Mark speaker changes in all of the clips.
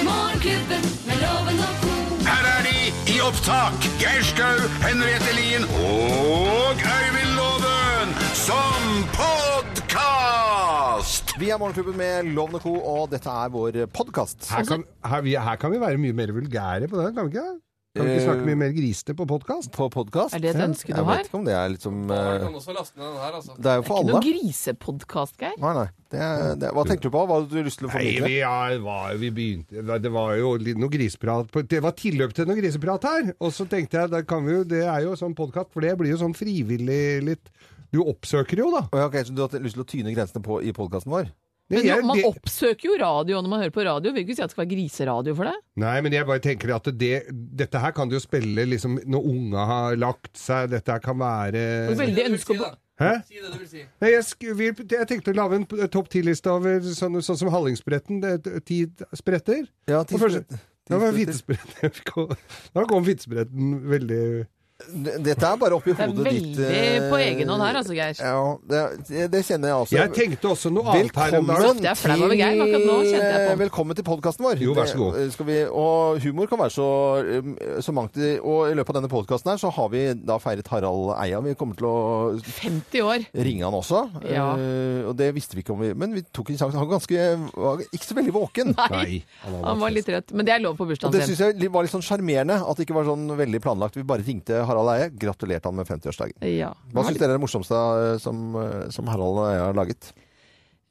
Speaker 1: Morgenklubben med loven og ko.
Speaker 2: Her er de i opptak. Geir Skau, Henriette Lien og Øyvind Loven som podkast!
Speaker 3: Vi er Morgenklubben med Loven og Co., og dette er vår podkast.
Speaker 4: Her kan, her, vi, her kan vi være mye mer vulgære på den, kan vi ikke? det? Kan vi ikke snakke mye mer grisete på podkast?
Speaker 3: På podkast.
Speaker 5: Er det et ønske du
Speaker 3: Jeg
Speaker 5: har?
Speaker 3: vet ikke om det er liksom
Speaker 6: Du
Speaker 3: eh,
Speaker 6: kan også laste ned den her, altså.
Speaker 3: Det er jo for
Speaker 5: Ikke noe
Speaker 3: alle.
Speaker 5: grisepodkast, Geir.
Speaker 3: Nei, nei. Det er, det, hva tenkte du på? Hva hadde du lyst til å
Speaker 4: Nei,
Speaker 3: formidle?
Speaker 4: vi, ja, var, vi begynte Det var jo litt noe griseprat på- Det var tilløp til noe griseprat her! Og så tenkte jeg, da kan vi jo, det er jo sånn podkast, for det blir jo sånn frivillig litt Du oppsøker jo, da.
Speaker 3: Å ja, ok, så du hadde lyst til å tyne grensene på, i podkasten vår?
Speaker 4: Det-
Speaker 5: Men
Speaker 4: jeg-
Speaker 5: man
Speaker 4: det-
Speaker 5: oppsøker jo radio når man hører på radio. Vil ikke si at det skal være griseradio for det.
Speaker 4: Nei, men jeg bare tenker at det, dette her kan du jo spille liksom når unga har lagt seg, dette her kan
Speaker 5: Og
Speaker 4: være
Speaker 5: veldig
Speaker 6: Det du vil
Speaker 5: ønske
Speaker 6: si,
Speaker 5: på
Speaker 6: da.
Speaker 4: Hæ?
Speaker 6: Si det du vil si.
Speaker 4: Nei, jeg, sk vi, jeg tenkte å lage en p- topp ti-liste over sånn, sånn som Hallingsbretten. det er t- Ti spretter.
Speaker 3: Ja, ti
Speaker 4: Og første-
Speaker 3: spretter. Ti
Speaker 4: Da var
Speaker 3: spretter.
Speaker 4: Fittesbretten Da kom Fittesbretten veldig
Speaker 3: Dette er bare oppi
Speaker 5: Det er
Speaker 3: hodet ditt.
Speaker 5: veldig
Speaker 3: eh,
Speaker 5: på egen hånd her, altså, Geir.
Speaker 3: Ja, det, det kjenner jeg altså.
Speaker 4: Jeg tenkte også noe annet her om
Speaker 3: Velkommen
Speaker 4: dagen.
Speaker 5: Det er flau over Geir, men akkurat nå kjente jeg på.
Speaker 3: Velkommen til podkasten vår.
Speaker 4: Jo, vær så god.
Speaker 3: Det, eh, Skal vi, og humor kan være så, eh, så mangt. i- Og i løpet av denne podkasten her så har vi da feiret Harald Eia. Vi kommer til å
Speaker 5: 50 år.
Speaker 3: ringe han også.
Speaker 5: Ja.
Speaker 3: Eh, og det visste vi ikke om vi Men vi tok en sjanse. Han var, ganske, var ikke så veldig våken.
Speaker 5: Nei. Han var litt rødt. Men det er lov på
Speaker 3: Og det
Speaker 5: bursdagen
Speaker 3: syns
Speaker 5: sin.
Speaker 3: jeg var litt sånn sjarmerende. At det ikke var sånn veldig planlagt. Vi bare ringte Harald Eie. Gratulerte han med 50-årsdagen.
Speaker 5: Ja.
Speaker 3: Hva syns dere er det morsomste eh, som, eh, som Harald og jeg har laget?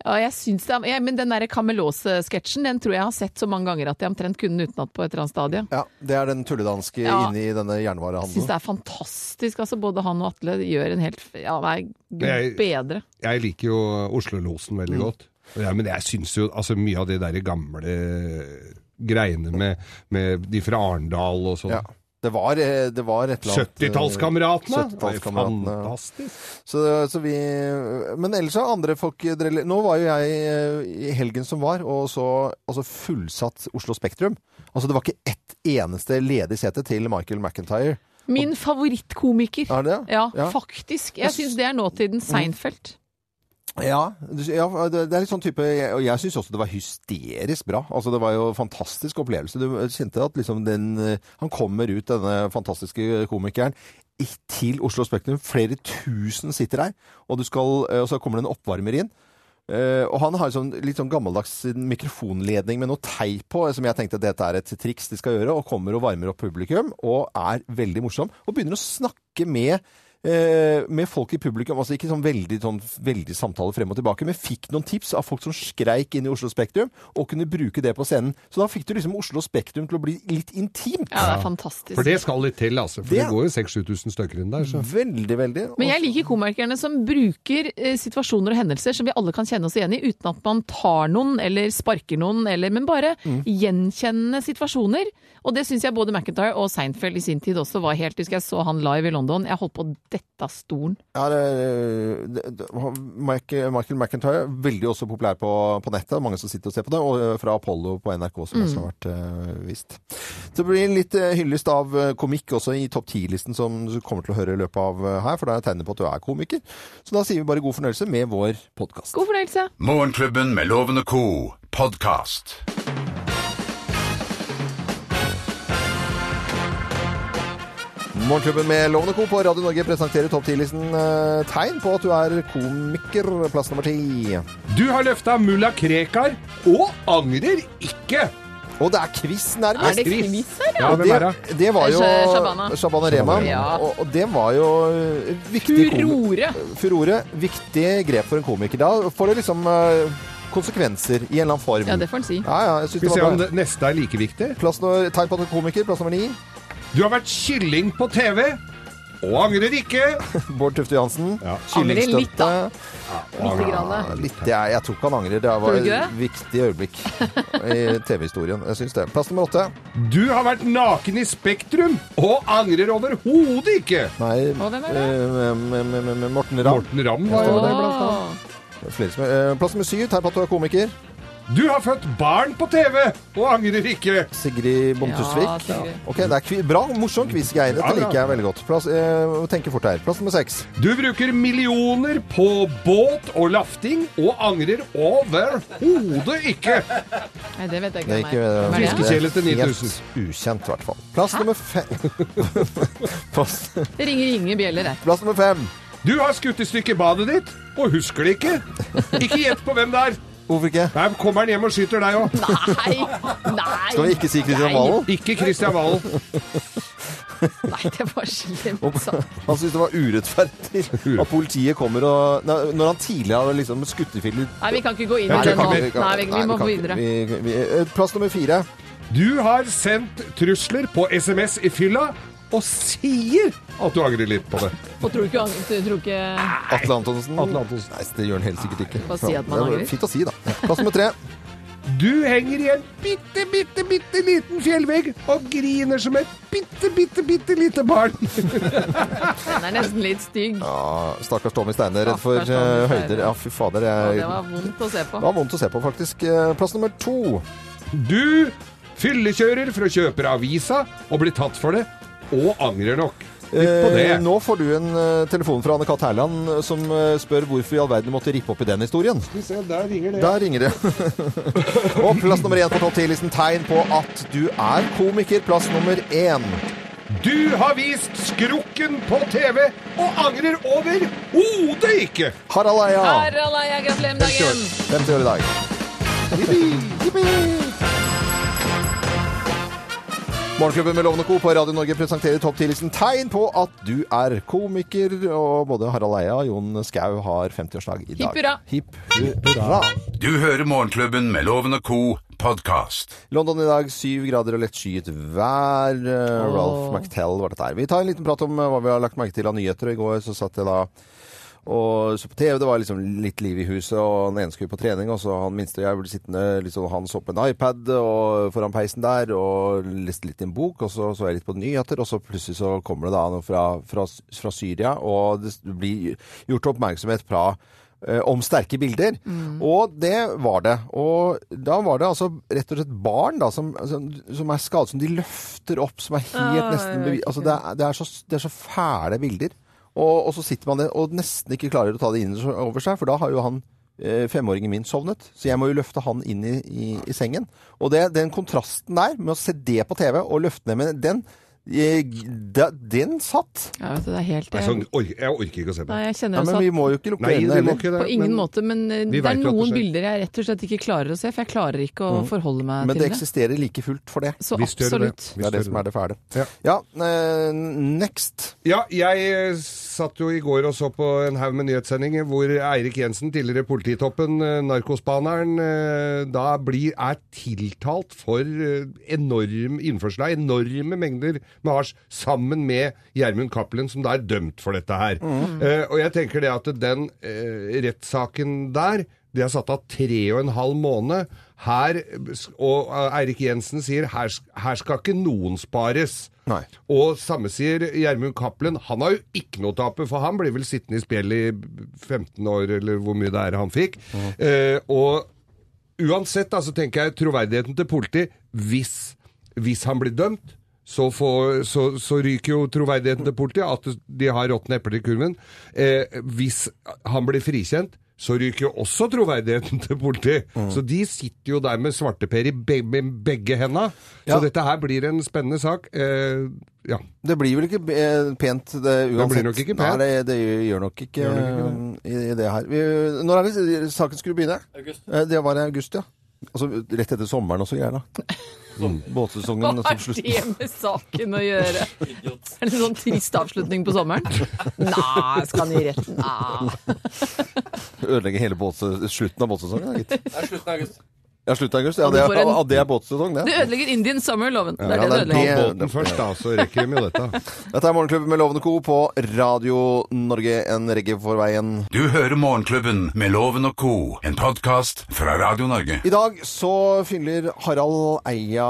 Speaker 5: ja, jeg syns det er ja, Men den derre Kamelås-sketsjen, den tror jeg jeg har sett så mange ganger at jeg omtrent kunne den utenat på et eller annet stadie.
Speaker 3: Ja, Det er den tulledanske
Speaker 5: Ja.
Speaker 3: inne i denne
Speaker 5: Jeg syns
Speaker 3: jernvarehandelen.
Speaker 5: det er fantastisk, altså. Både han og Atle gjør en helt Ja, nei,
Speaker 4: Jeg-
Speaker 5: gud bedre.
Speaker 4: Jeg liker jo Oslo-losen veldig
Speaker 3: Mm.
Speaker 4: godt. Ja, men jeg syns jo altså, mye av det derre gamle eh, greiene med, med de fra Arendal og sånn.
Speaker 3: Ja. Det var, eh, det var et eller annet eh,
Speaker 4: 70-tallskameratene! Det var jo
Speaker 3: 70-tallskameratene, ja.
Speaker 4: Fantastisk.
Speaker 3: Så, så vi Men ellers har andre folk drelle- Nå var jo jeg eh, i helgen som var, og så altså fullsatt Oslo Spektrum. Altså det var ikke ett eneste ledig sete til Michael McIntyre.
Speaker 5: Min favorittkomiker.
Speaker 3: Er det det?
Speaker 5: Ja,
Speaker 3: Ja.
Speaker 5: faktisk. Jeg syns det er nåtidens Seinfeld.
Speaker 3: Ja. du- ja det det er litt sånn type Og jeg syns også det var hysterisk bra. Altså det var jo en fantastisk opplevelse. Du kjente at liksom den eh, Han kommer ut, denne fantastiske komikeren. i- Til Oslo Spektrum. Flere tusen sitter der, og, du skal, eh, og så kommer det en oppvarmer inn. Eh, og han har sånn, litt sånn gammeldags mikrofonledning med noe teip på, som jeg tenkte at dette er et triks de skal gjøre, og kommer og varmer opp publikum, og er veldig morsom, og begynner å snakke med eh, med folk i publikum, altså ikke sånn veldig, sånn veldig samtale frem og tilbake, men fikk noen tips av folk som skreik inn i Oslo Spektrum, og kunne bruke det på scenen. Så da fikk du liksom Oslo Spektrum til å bli litt intimt.
Speaker 5: Ja, det er fantastisk.
Speaker 4: For det skal litt til, altså. For
Speaker 3: Det-
Speaker 4: det, går jo 6000-7000 stykker inn der. Så.
Speaker 3: Veldig, veldig.
Speaker 5: Men jeg liker komikerne som bruker eh, situasjoner og hendelser som vi alle kan kjenne oss igjen i, uten at man tar noen eller sparker noen, eller, men bare gjenkjennende situasjoner. Og det syns jeg både McIntyre og Seinfeld i sin tid også var helt Husker jeg så han live i London, jeg holdt på å dette av stolen.
Speaker 3: Ja, det, det, det, Michael, Michael McIntyre, veldig også populær på, på nettet. Mange som sitter og ser på det. Og eh, fra Apollo på NRK, som
Speaker 5: Mm.
Speaker 3: også har vært eh, vist. Så det blir litt eh, hyllest av eh, komikk også i topp 10-listen som du kommer til å høre i løpet av eh, her, for det er tegnet på at du er komiker. Så da sier vi bare god fornøyelse med vår podkast.
Speaker 5: God fornøyelse!
Speaker 2: Morgenklubben med Loven og Co. podkast.
Speaker 3: Morgenklubben med Lovende Co. på Radio Norge presenterer topp 10-listen eh, tegn på at du er komiker. Plass nummer ti.
Speaker 4: Du har løfta mulla Krekar, og angrer ikke!
Speaker 3: Og det er quiz nærmest!
Speaker 5: Er det
Speaker 4: Chris.
Speaker 5: quiz her, ja?
Speaker 4: Ja,
Speaker 3: Og
Speaker 4: hvem er det?
Speaker 3: det, det var jo
Speaker 5: Sh- Shabana.
Speaker 3: Shabana Rema.
Speaker 5: Ja.
Speaker 3: Og, og det var jo eh, viktig komi-
Speaker 5: Furore!
Speaker 3: Furore. Viktig grep for en komiker. Da får det liksom eh, konsekvenser i en eller annen form.
Speaker 5: Ja, det får en si.
Speaker 3: ja, ja, jeg synes
Speaker 4: Skal vi
Speaker 3: det
Speaker 4: se
Speaker 3: var
Speaker 4: om
Speaker 3: bra.
Speaker 4: det neste er like viktig.
Speaker 3: Plass når, tegn på at du er komiker. Plass nummer ni.
Speaker 4: Du har vært kylling på TV, og angrer ikke!
Speaker 3: Bård Tufte Johansen.
Speaker 4: Ja.
Speaker 5: Angrer litt, da. Lite
Speaker 3: Ja,
Speaker 5: grann.
Speaker 3: Litt, jeg, jeg tror ikke han angrer. Det
Speaker 5: Tror
Speaker 3: var
Speaker 5: du ikke
Speaker 3: et viktig øyeblikk i TV-historien. Jeg syns det. Plass nummer åtte.
Speaker 4: Du har vært naken i Spektrum, og angrer overhodet ikke!
Speaker 3: Nei,
Speaker 5: Og hvem er
Speaker 3: eh, med- med- med- med Morten Ramm.
Speaker 4: Morten Ramm var jo
Speaker 3: Står
Speaker 4: det.
Speaker 3: det blant annet?
Speaker 5: Åh.
Speaker 3: Flere som- eh, Plass nummer syv. Tegn på at du er komiker.
Speaker 4: Du har født barn på TV, og angrer ikke!
Speaker 3: Sigrid Bonde
Speaker 5: Ja,
Speaker 3: Tusvik.
Speaker 5: Sigrid.
Speaker 3: Ok, det er kvi bra, morsom quiz, Geir. Dette
Speaker 4: Ja, ja.
Speaker 3: liker jeg veldig godt. Plass, eh, tenker fort her. Plass nummer seks.
Speaker 4: Du bruker millioner på båt og lafting, og angrer overhodet ikke!
Speaker 5: Nei, det vet jeg
Speaker 3: Det
Speaker 5: ikke.
Speaker 3: gikk
Speaker 5: hvem er. Hvem er det?
Speaker 4: Fiskekjelet til 9000.
Speaker 3: helt ukjent, i hvert fall. Plass nummer fem. plass,
Speaker 5: Det ringer ingen bjeller der.
Speaker 3: plass nummer fem.
Speaker 4: Du har skutt i stykker badet ditt, og husker det ikke. Ikke gjett på hvem det er.
Speaker 3: Hvorfor ikke?
Speaker 4: Nei, kommer han hjem og skyter deg òg.
Speaker 5: Nei! Nei!
Speaker 3: Skal vi ikke si Kristian Valen?
Speaker 4: Ikke Kristian Valen.
Speaker 5: Nei, det var slemt sagt.
Speaker 3: Han syntes det var urettferdig at politiet kommer og nei, Når han tidligere har liksom skutt i filmen
Speaker 5: Nei, vi kan ikke gå inn i
Speaker 4: Jeg
Speaker 5: det nå.
Speaker 4: tror
Speaker 5: Nei,
Speaker 4: ikke
Speaker 5: vi, vi må videre.
Speaker 3: eh, Plass nummer fire.
Speaker 4: Du har sendt trusler på SMS i fylla, og sier at du angrer litt på det.
Speaker 5: Og tror ikke, du tror ikke
Speaker 3: Atle Antonsen.
Speaker 4: Atle Antonsen.
Speaker 3: Nei, det gjør han helt sikkert ikke.
Speaker 5: Bare si at man
Speaker 3: Ja,
Speaker 5: angrer.
Speaker 3: Fint å si, da. Plass nummer tre.
Speaker 4: Du henger i en bitte, bitte, bitte liten fjellvegg og griner som et bitte, bitte, bitte lite barn.
Speaker 5: Den er nesten litt stygg.
Speaker 3: Ja, Stakkars Tommy Steine, redd for
Speaker 5: Stakkars Tommy
Speaker 3: eh,
Speaker 5: Steine.
Speaker 3: høyder. Ja, fy fader.
Speaker 5: Og
Speaker 3: Jeg,
Speaker 5: det var vondt å se på.
Speaker 3: det var vondt å se på, faktisk. Eh, Plass nummer to.
Speaker 4: Du fyllekjører for å kjøpe avisa og blir tatt for det, og angrer nok. Litt på det.
Speaker 3: Eh, nå får du en eh, telefon fra Anne-Kat. Herland eh, som eh, spør hvorfor i all verden du måtte rippe opp i den historien.
Speaker 4: Skal vi se, der ringer det.
Speaker 3: Der ringer det. og plass nummer én på topp ti-listen tegn på at du er komiker. Plass nummer én.
Speaker 4: Du har vist skrukken på TV og angrer overhodet ikke.
Speaker 3: Harald Eia.
Speaker 5: Harald Eia, gratulerer med dagen!
Speaker 3: 50 år i dag. Morgenklubben med Lovende Co. på Radio Norge presenterer topp 10-listen tegn på at du er komiker. Og både Harald Eia og Jon Skau har 50-årsdag i dag.
Speaker 5: Hipp hurra.
Speaker 3: Hipp hurra.
Speaker 2: Du hører Morgenklubben med Loven og Co. podkast.
Speaker 3: London i dag syv grader og lettskyet vær. Eh, Ralph McTell var dette her. Vi tar en liten prat om eh, hva vi har lagt merke til av nyheter. Og I går så satt jeg da og så på TV. Det var liksom litt liv i huset, og den ene skulle på trening, og så han minste og jeg ble sittende liksom, han så på en iPad og foran peisen der og leste litt i en bok, og så så jeg litt på nyheter, og så plutselig så kommer det da noe fra, fra, fra Syria, og det blir gjort oppmerksomhet fra eh, om sterke bilder. Og det var det. Og da var det altså rett og slett barn da, som, som, som er skadet, som de løfter opp, som er helt nesten bevi- Altså, det er, det, er så, det er så fæle bilder. Og, og så sitter man der og nesten ikke klarer å ta det inn over seg, for da har jo han eh, femåringen min sovnet. Så jeg må jo løfte han inn i, i, i sengen. Og det, den kontrasten der, med å se det på TV og løfte ned med den, eh, da- den satt.
Speaker 5: Ja, vet du, det er helt
Speaker 4: Nei, sånn, ork- jeg orker ikke å se på.
Speaker 5: Nei,
Speaker 3: Ja,
Speaker 5: jeg kjenner
Speaker 3: men
Speaker 5: også
Speaker 3: vi
Speaker 5: at
Speaker 3: må jo ikke lukke
Speaker 4: Nei,
Speaker 3: øynene
Speaker 4: du må
Speaker 3: heller.
Speaker 4: ikke det.
Speaker 5: på ingen
Speaker 4: men-
Speaker 5: måte, men eh,
Speaker 4: Vi
Speaker 5: det er
Speaker 4: vet jo at det
Speaker 5: noen
Speaker 4: skjer.
Speaker 5: bilder jeg rett og slett ikke klarer å se, for jeg klarer ikke å forholde meg
Speaker 3: Men det
Speaker 5: til det.
Speaker 3: eksisterer like fullt for det.
Speaker 5: Så
Speaker 4: Visst gjør det det.
Speaker 5: absolutt.
Speaker 3: Det er det som er det fæle.
Speaker 4: Ja.
Speaker 3: Ja, eh, next.
Speaker 4: Ja, jeg eh, satt jo i går og så på en haug med nyhetssendinger hvor Eirik Jensen, tidligere polititoppen, eh, narkospaneren, eh, da blir, er tiltalt for eh, enorm innførsel av enorme mengder med hasj, sammen med Gjermund Cappelen, som da er dømt for dette her. Eh, og jeg tenker det at den eh, rettssaken der de har satt av tre og en halv måned. Her, og eh, Eirik Jensen sier her, sk- her skal ikke noen spares.
Speaker 3: Nei.
Speaker 4: Og samme sier Gjermund Cappelen. Han har jo ikke noe å tape, for han blir vel sittende i spjeld i 15 år, eller hvor mye det er han fikk. Eh, og uansett, da, så tenker jeg troverdigheten til politiet hvis, hvis han blir dømt. Så, får, så, så ryker jo troverdigheten til politiet, at de har råtne epler i kurven. Eh, hvis han blir frikjent, så ryker jo også troverdigheten til politiet. Så de sitter jo der med svarteper i be med begge henda. Så
Speaker 3: Ja.
Speaker 4: dette her blir en spennende sak. Eh, ja.
Speaker 3: Det blir vel ikke eh, pent det, uansett.
Speaker 4: blir nok ikke pent.
Speaker 3: Nei, det, det gjør nok ikke, eh, i, i det her. Vi, når er det saken skulle begynne? August. Det var i august, ja. Altså rett etter sommeren også greier da.
Speaker 4: Mm.
Speaker 5: Hva
Speaker 3: Båtsesongen altså,
Speaker 5: har
Speaker 3: som slutter.
Speaker 5: det med saken å gjøre? Er det en sånn trist avslutning på sommeren? Nei, skal han i retten? Nei.
Speaker 3: Ødelegge hele båtse- slutten av båtsesongen, da, gitt.
Speaker 6: Det er slutten av august.
Speaker 3: Ja, slutten av august. Ja, det
Speaker 5: Du
Speaker 3: er,
Speaker 5: får en-
Speaker 3: ja, det er båtsesong, det.
Speaker 5: Det ødelegger Indian Summer-loven. Det
Speaker 3: Ja,
Speaker 5: er det det
Speaker 3: det er
Speaker 5: ødelegger.
Speaker 4: Ta
Speaker 3: det-
Speaker 4: båten først, da, så rekker de jo dette.
Speaker 3: Dette er Morgenklubben med Lovende Co. på Radio Norge, en regge for veien.
Speaker 2: Du hører Morgenklubben med Loven og Co., en podkast fra Radio Norge.
Speaker 3: I dag så fyller Harald Eia,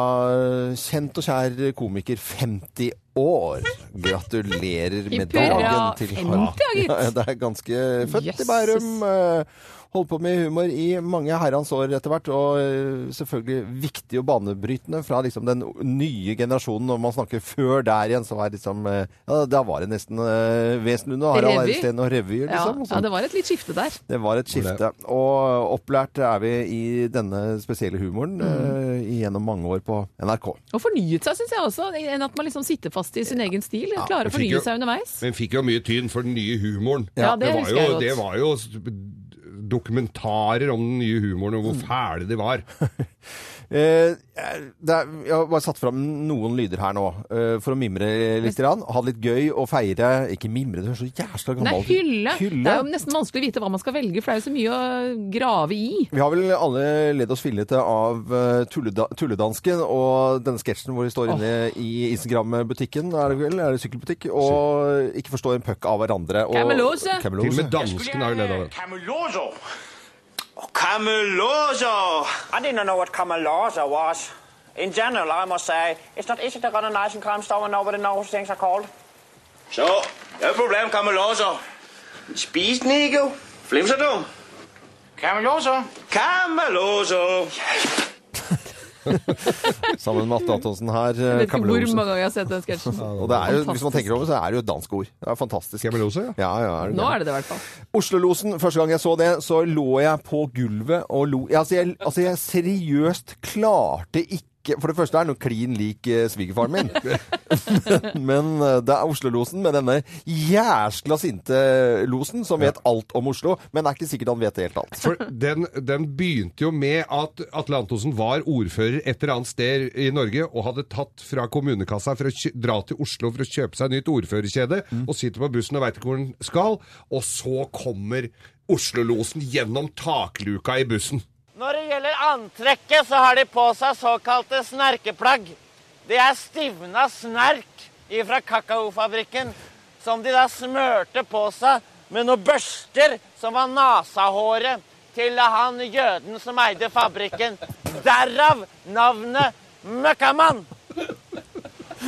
Speaker 3: kjent og kjær komiker, 50 år. Gratulerer med
Speaker 5: Hipp hurra,
Speaker 3: dagen til Harald.
Speaker 5: 50, ja, gitt.
Speaker 3: Ja, det er ganske født i
Speaker 5: Jesus.
Speaker 3: Bærum. eh, holdt på med humor i mange herrens år etter hvert, og eh, selvfølgelig viktig og banebrytende fra liksom den nye generasjonen. Når man snakker før der igjen, så var det liksom eh, Ja, da var det nesten eh, Wesenlund og Harald
Speaker 5: Revy.
Speaker 3: Eirsten og revyer,
Speaker 5: Ja,
Speaker 3: liksom. og
Speaker 5: ja,
Speaker 3: sånn.
Speaker 5: det var et litt skifte der.
Speaker 3: Det var et skifte. Og opplært er vi i denne spesielle humoren
Speaker 4: Mm.
Speaker 3: eh, gjennom mange år på NRK.
Speaker 5: Og fornyet seg, syns jeg også. Enn at man liksom sitter fast i sin egen stil. Klarer å
Speaker 4: jeg fikk
Speaker 5: fornye
Speaker 4: jo-
Speaker 5: seg underveis.
Speaker 4: Men fikk jo mye tyn for den nye humoren.
Speaker 5: Ja, det
Speaker 4: var
Speaker 5: husker
Speaker 4: jo,
Speaker 5: jeg godt.
Speaker 4: Det var jo s- dokumentarer om den nye humoren og hvor fæle de var.
Speaker 3: Eh, det er, jeg har bare satt fram noen lyder her nå, eh, for å mimre litt. Grann. Ha det litt gøy og feire Ikke mimre, det høres så jævla
Speaker 5: Nei,
Speaker 3: gammelt
Speaker 5: hylle. Det er jo nesten vanskelig å vite hva man skal velge, for det er jo så mye å grave i.
Speaker 3: Vi har vel alle ledd oss fillete av eh, tulleda tulledansken og denne sketsjen hvor de står inne i Instagram-butikken, er det vel? Er det sykkelbutikk? Og ikke forstår en puck av hverandre. Og,
Speaker 5: Kamelose.
Speaker 4: Til og
Speaker 3: Kamelose.
Speaker 4: med danskene har jo ledd av det.
Speaker 6: Camelozo. Oh, Camelozo.
Speaker 7: I didn't know what Kamalaza was. In general, I must say, it's not easy to run a nice and calm store when nobody knows things are called.
Speaker 6: Så, det er et problem, Camelozo. Spis den ikke, jo. Flimser du? Camelozo. Camelozo.
Speaker 3: Sammen med Atle Antonsen her. eh,
Speaker 5: Jeg vet ikke hvor
Speaker 3: Kamelose.
Speaker 5: mange ganger jeg har sett den sketsjen.
Speaker 3: Og det er jo, hvis man tenker over det, så er det jo et dansk ord. Det er fantastisk.
Speaker 4: Kamelose, ja.
Speaker 3: ja, ja er det
Speaker 5: Nå
Speaker 3: det?
Speaker 5: er det det, i hvert fall.
Speaker 3: Oslo-losen, første gang jeg så det, så lå jeg på gulvet og lo. Ja, Altså, jeg, altså, jeg seriøst klarte ikke for det første er han jo klin lik eh, svigerfaren min. Men eh, det er Oslo-losen med denne jæskla sinte losen som vet alt om Oslo, men det er ikke sikkert han vet helt alt.
Speaker 4: For den, den begynte jo med at Atle Antonsen var ordfører et eller annet sted i Norge og hadde tatt fra kommunekassa for å kjø- dra til Oslo for å kjøpe seg nytt ordførerkjede, og sitter på bussen og veit ikke hvor den skal, og så kommer Oslo-losen gjennom takluka i bussen.
Speaker 8: Når det gjelder antrekket, så har de på seg såkalte snerkeplagg. Det er stivna snerk fra kakaofabrikken, som de da smørte på seg med noen børster som var nasahåret til han jøden som eide fabrikken. Derav navnet Møkkamann.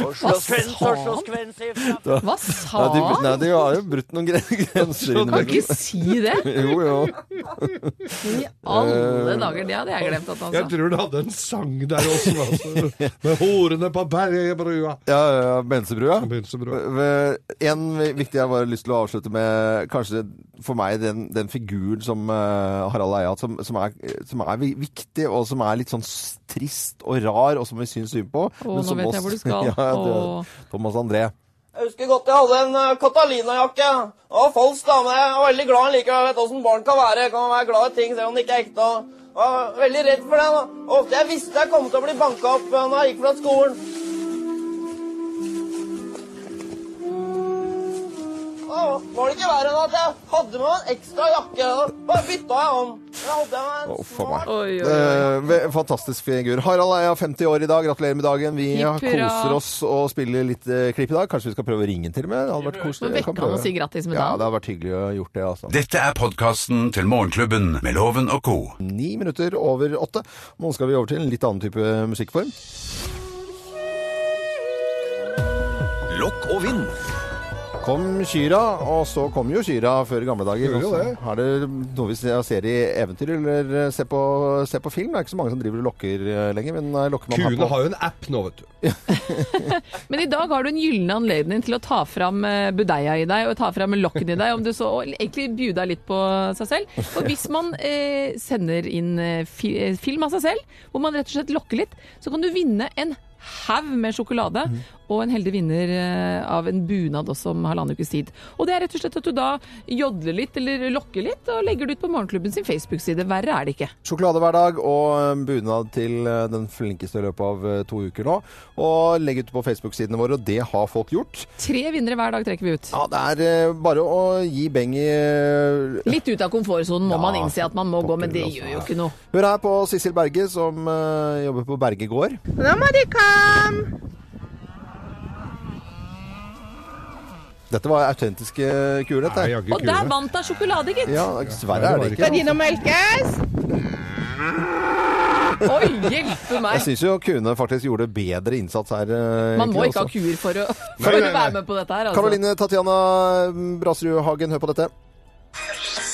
Speaker 8: Oslos kvinns, Oslos kvinns ifra
Speaker 5: Hva sa
Speaker 3: de, nei,
Speaker 5: han?
Speaker 3: de har jo brutt noen gre- grenser
Speaker 5: Kan
Speaker 3: innimellom.
Speaker 5: ikke si det!
Speaker 3: Jo, jo.
Speaker 5: I alle dager. Det hadde jeg glemt at han
Speaker 4: Jeg
Speaker 5: sa.
Speaker 4: tror du hadde en sang der også, altså. med horene på bergebrua.
Speaker 3: Ja, ja, Bensebrua.
Speaker 4: Bensebrua.
Speaker 3: Ved- En viktig jeg bare har lyst til å avslutte med, kanskje for meg den, den figuren som eh, Harald Eia, som, som, er, som er vi- viktig, og som er litt sånn s- trist og rar, og som vi syns synd på.
Speaker 5: Å,
Speaker 3: men
Speaker 5: nå
Speaker 3: som
Speaker 5: vet jeg
Speaker 3: oss-
Speaker 5: hvor du skal.
Speaker 3: ja,
Speaker 5: Å.
Speaker 3: det, Thomas André.
Speaker 8: Jeg husker godt jeg hadde en eh, Catalina-jakke. Den var falsk, da, men jeg var veldig glad han likevel. Jeg vet åssen barn kan være. Kan være glad i ting selv om det ikke er ekte. og Jeg var veldig redd for det. da. Og Ofte jeg visste jeg kom til å bli banka opp eh, når jeg gikk fra skolen. Da var det ikke verre enn at jeg hadde med meg en ekstra jakke. og Bare bytta jeg om. Men jeg hadde med meg
Speaker 3: Å,
Speaker 8: en
Speaker 3: for meg.
Speaker 5: Oi, oi, oi.
Speaker 3: Eh, ve- fantastisk figur. Harald Eia, 50 år i dag. Gratulerer med dagen. Vi
Speaker 5: Hipp hurra.
Speaker 3: koser oss og spiller litt eh, klipp i dag. Kanskje vi skal prøve å ringe den til og med? Det hadde vært koselig. Jeg
Speaker 5: Må
Speaker 3: kan
Speaker 5: vekke han og
Speaker 3: prøve.
Speaker 5: si grattis med
Speaker 3: Ja,
Speaker 5: dagen.
Speaker 3: det hadde vært hyggelig å gjort det, altså.
Speaker 2: Dette er podkasten til Morgenklubben med Loven og co.
Speaker 3: Ni minutter over åtte. Nå skal vi over til en litt annen type musikkform.
Speaker 9: Lokk og vinn.
Speaker 3: Kom Kyra, og så kom jo Kyra før i gamle dager.
Speaker 4: Gjorde
Speaker 3: Og så
Speaker 4: det.
Speaker 3: Er det noe vi ser ser i eventyr eller ser på, ser på film? Det er ikke så mange som driver og lokker eh, lenger, men eh, lokker man her
Speaker 4: Kuene
Speaker 3: på.
Speaker 4: har jo en app nå, vet du.
Speaker 5: Men i dag har du en gyllen anledning til å ta fram eh, budeia i deg og ta fram lokken i deg, om du så og egentlig bjuda litt på seg selv. Og hvis man eh, sender inn eh, fi, eh, film av seg selv, hvor man rett og slett lokker litt, så kan du vinne en haug med sjokolade, og en heldig vinner eh, av en bunad også om halvannen ukes tid. Og det er rett og slett at du da jodler litt eller lokker litt, og legger det ut på Morgenklubben sin Facebook-side. Verre er det ikke.
Speaker 3: Sjokolade hver dag og eh, bunad til eh, den flinkeste i løpet av eh, to uker nå. Og legg ut på Facebook-sidene våre, og det har folk gjort.
Speaker 5: Tre vinnere hver dag trekker vi ut.
Speaker 3: Ja, det er eh, bare å gi beng i eh,
Speaker 5: Litt ut av komfortsonen må
Speaker 3: Ja,
Speaker 5: man innse at man må gå, men
Speaker 3: pokker,
Speaker 5: det
Speaker 3: altså.
Speaker 5: gjør jo ikke noe.
Speaker 3: Hør her på Sissel Berge, som eh, jobber på Berge gård. Dette var autentiske kuer, dette.
Speaker 4: Nei, jeg har ikke
Speaker 5: Og der
Speaker 4: kuene.
Speaker 5: vant hun sjokolade, gitt!
Speaker 3: Ja, dessverre er det ikke.
Speaker 5: Oi, hjelpe
Speaker 3: Jeg
Speaker 5: meg!
Speaker 3: syns jo kuene faktisk gjorde bedre innsats her. eh,
Speaker 5: Man må
Speaker 3: egentlig
Speaker 5: ikke ha
Speaker 3: også.
Speaker 5: kuer for å,
Speaker 4: Nei,
Speaker 5: for
Speaker 4: nei,
Speaker 5: å
Speaker 4: nei.
Speaker 5: være med på dette her. Altså.
Speaker 3: mm, Karoline Tatjana Brasrud Hagen, hør på dette.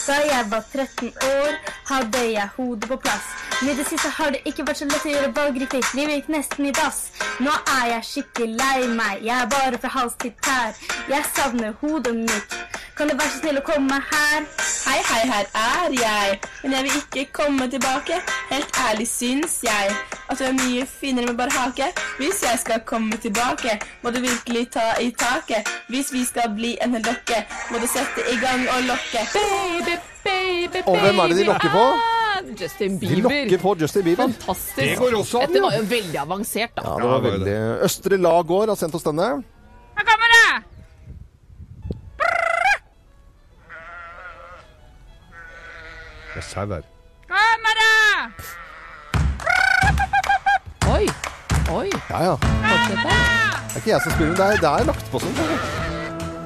Speaker 10: Da jeg var 13 år, hadde jeg hodet på plass. Men i det siste har det ikke vært så lett å gjøre valg riktig. Livet gikk nesten i dass. Nå er jeg skikkelig lei meg. Jeg er bare fra hals til tær. Jeg savner hodet mitt. Kan du være så snill å komme her? Hei, hei, her er jeg. Men jeg vil ikke komme tilbake. Helt ærlig syns jeg at du er mye finere med bare hake. Hvis jeg skal komme tilbake, må du virkelig ta i taket. Hvis vi skal bli en hel dokke, må du sette i gang og lokke.
Speaker 5: Baby, baby,
Speaker 3: Og hvem er det de
Speaker 5: baby.
Speaker 3: lokker på?
Speaker 5: Ah, Justin
Speaker 3: De
Speaker 5: Bieber.
Speaker 3: lokker på Justin Bieber.
Speaker 5: Fantastisk.
Speaker 4: Det går også an,
Speaker 5: Dette
Speaker 4: jo.
Speaker 5: var jo veldig avansert, da.
Speaker 3: Ja, det var
Speaker 4: Ja, det var
Speaker 3: veldig... Østre Lagård har sendt oss denne.
Speaker 10: Her kommer det!
Speaker 4: Det er sau her.
Speaker 10: Kommer det!
Speaker 5: Oi, oi.
Speaker 3: Ja, ja. Det
Speaker 5: Fortsett der.
Speaker 3: er ikke jeg som spiller, men det er, det er lagt på sånn.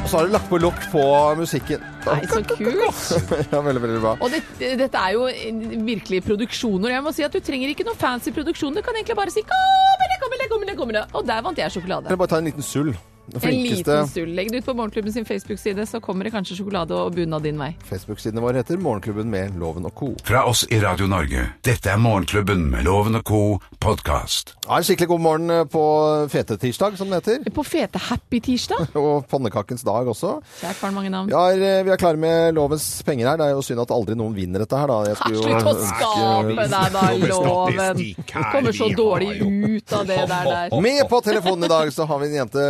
Speaker 3: Og så har de lagt på lokk på musikken.
Speaker 5: Nei, så kult.
Speaker 3: ja, veldig, veldig bra.
Speaker 5: Og det, dette er jo en- virkelig produksjoner. Jeg må si at Du trenger ikke noen fancy produksjon. Du kan egentlig bare si 'kommer det, kommer det, kommer det'. kommer det». Og der vant jeg
Speaker 3: Kan
Speaker 5: sjokolade.
Speaker 3: jeg bare ta en liten sull? Den
Speaker 5: En
Speaker 3: flinkeste
Speaker 5: liten stull. Legg det ut på Morgenklubben sin Facebook-side, så kommer det kanskje sjokolade og bunad din vei.
Speaker 3: Facebook-siden vår heter Morgenklubben med Loven og co.
Speaker 2: Fra oss i Radio Norge. Dette er Morgenklubben med Loven og co. podkast.
Speaker 3: Ja, en skikkelig god morgen eh, på fetetirsdag, som det heter.
Speaker 5: På fete happy tirsdag.
Speaker 3: Og pannekakens dag også.
Speaker 5: Kjært barn, mange navn.
Speaker 3: Vi er, vi er klare med lovens penger her. Det er jo synd at aldri noen vinner dette her, da. Jeg skulle jo
Speaker 5: Slutt å
Speaker 3: ønske-
Speaker 5: skape deg, da,
Speaker 4: Nå med
Speaker 5: loven.
Speaker 4: statistikk her,
Speaker 5: Kommer
Speaker 4: vi
Speaker 5: så
Speaker 4: har
Speaker 5: dårlig
Speaker 4: jo-
Speaker 5: ut av det der der.
Speaker 3: Med på telefonen i dag så har vi en jente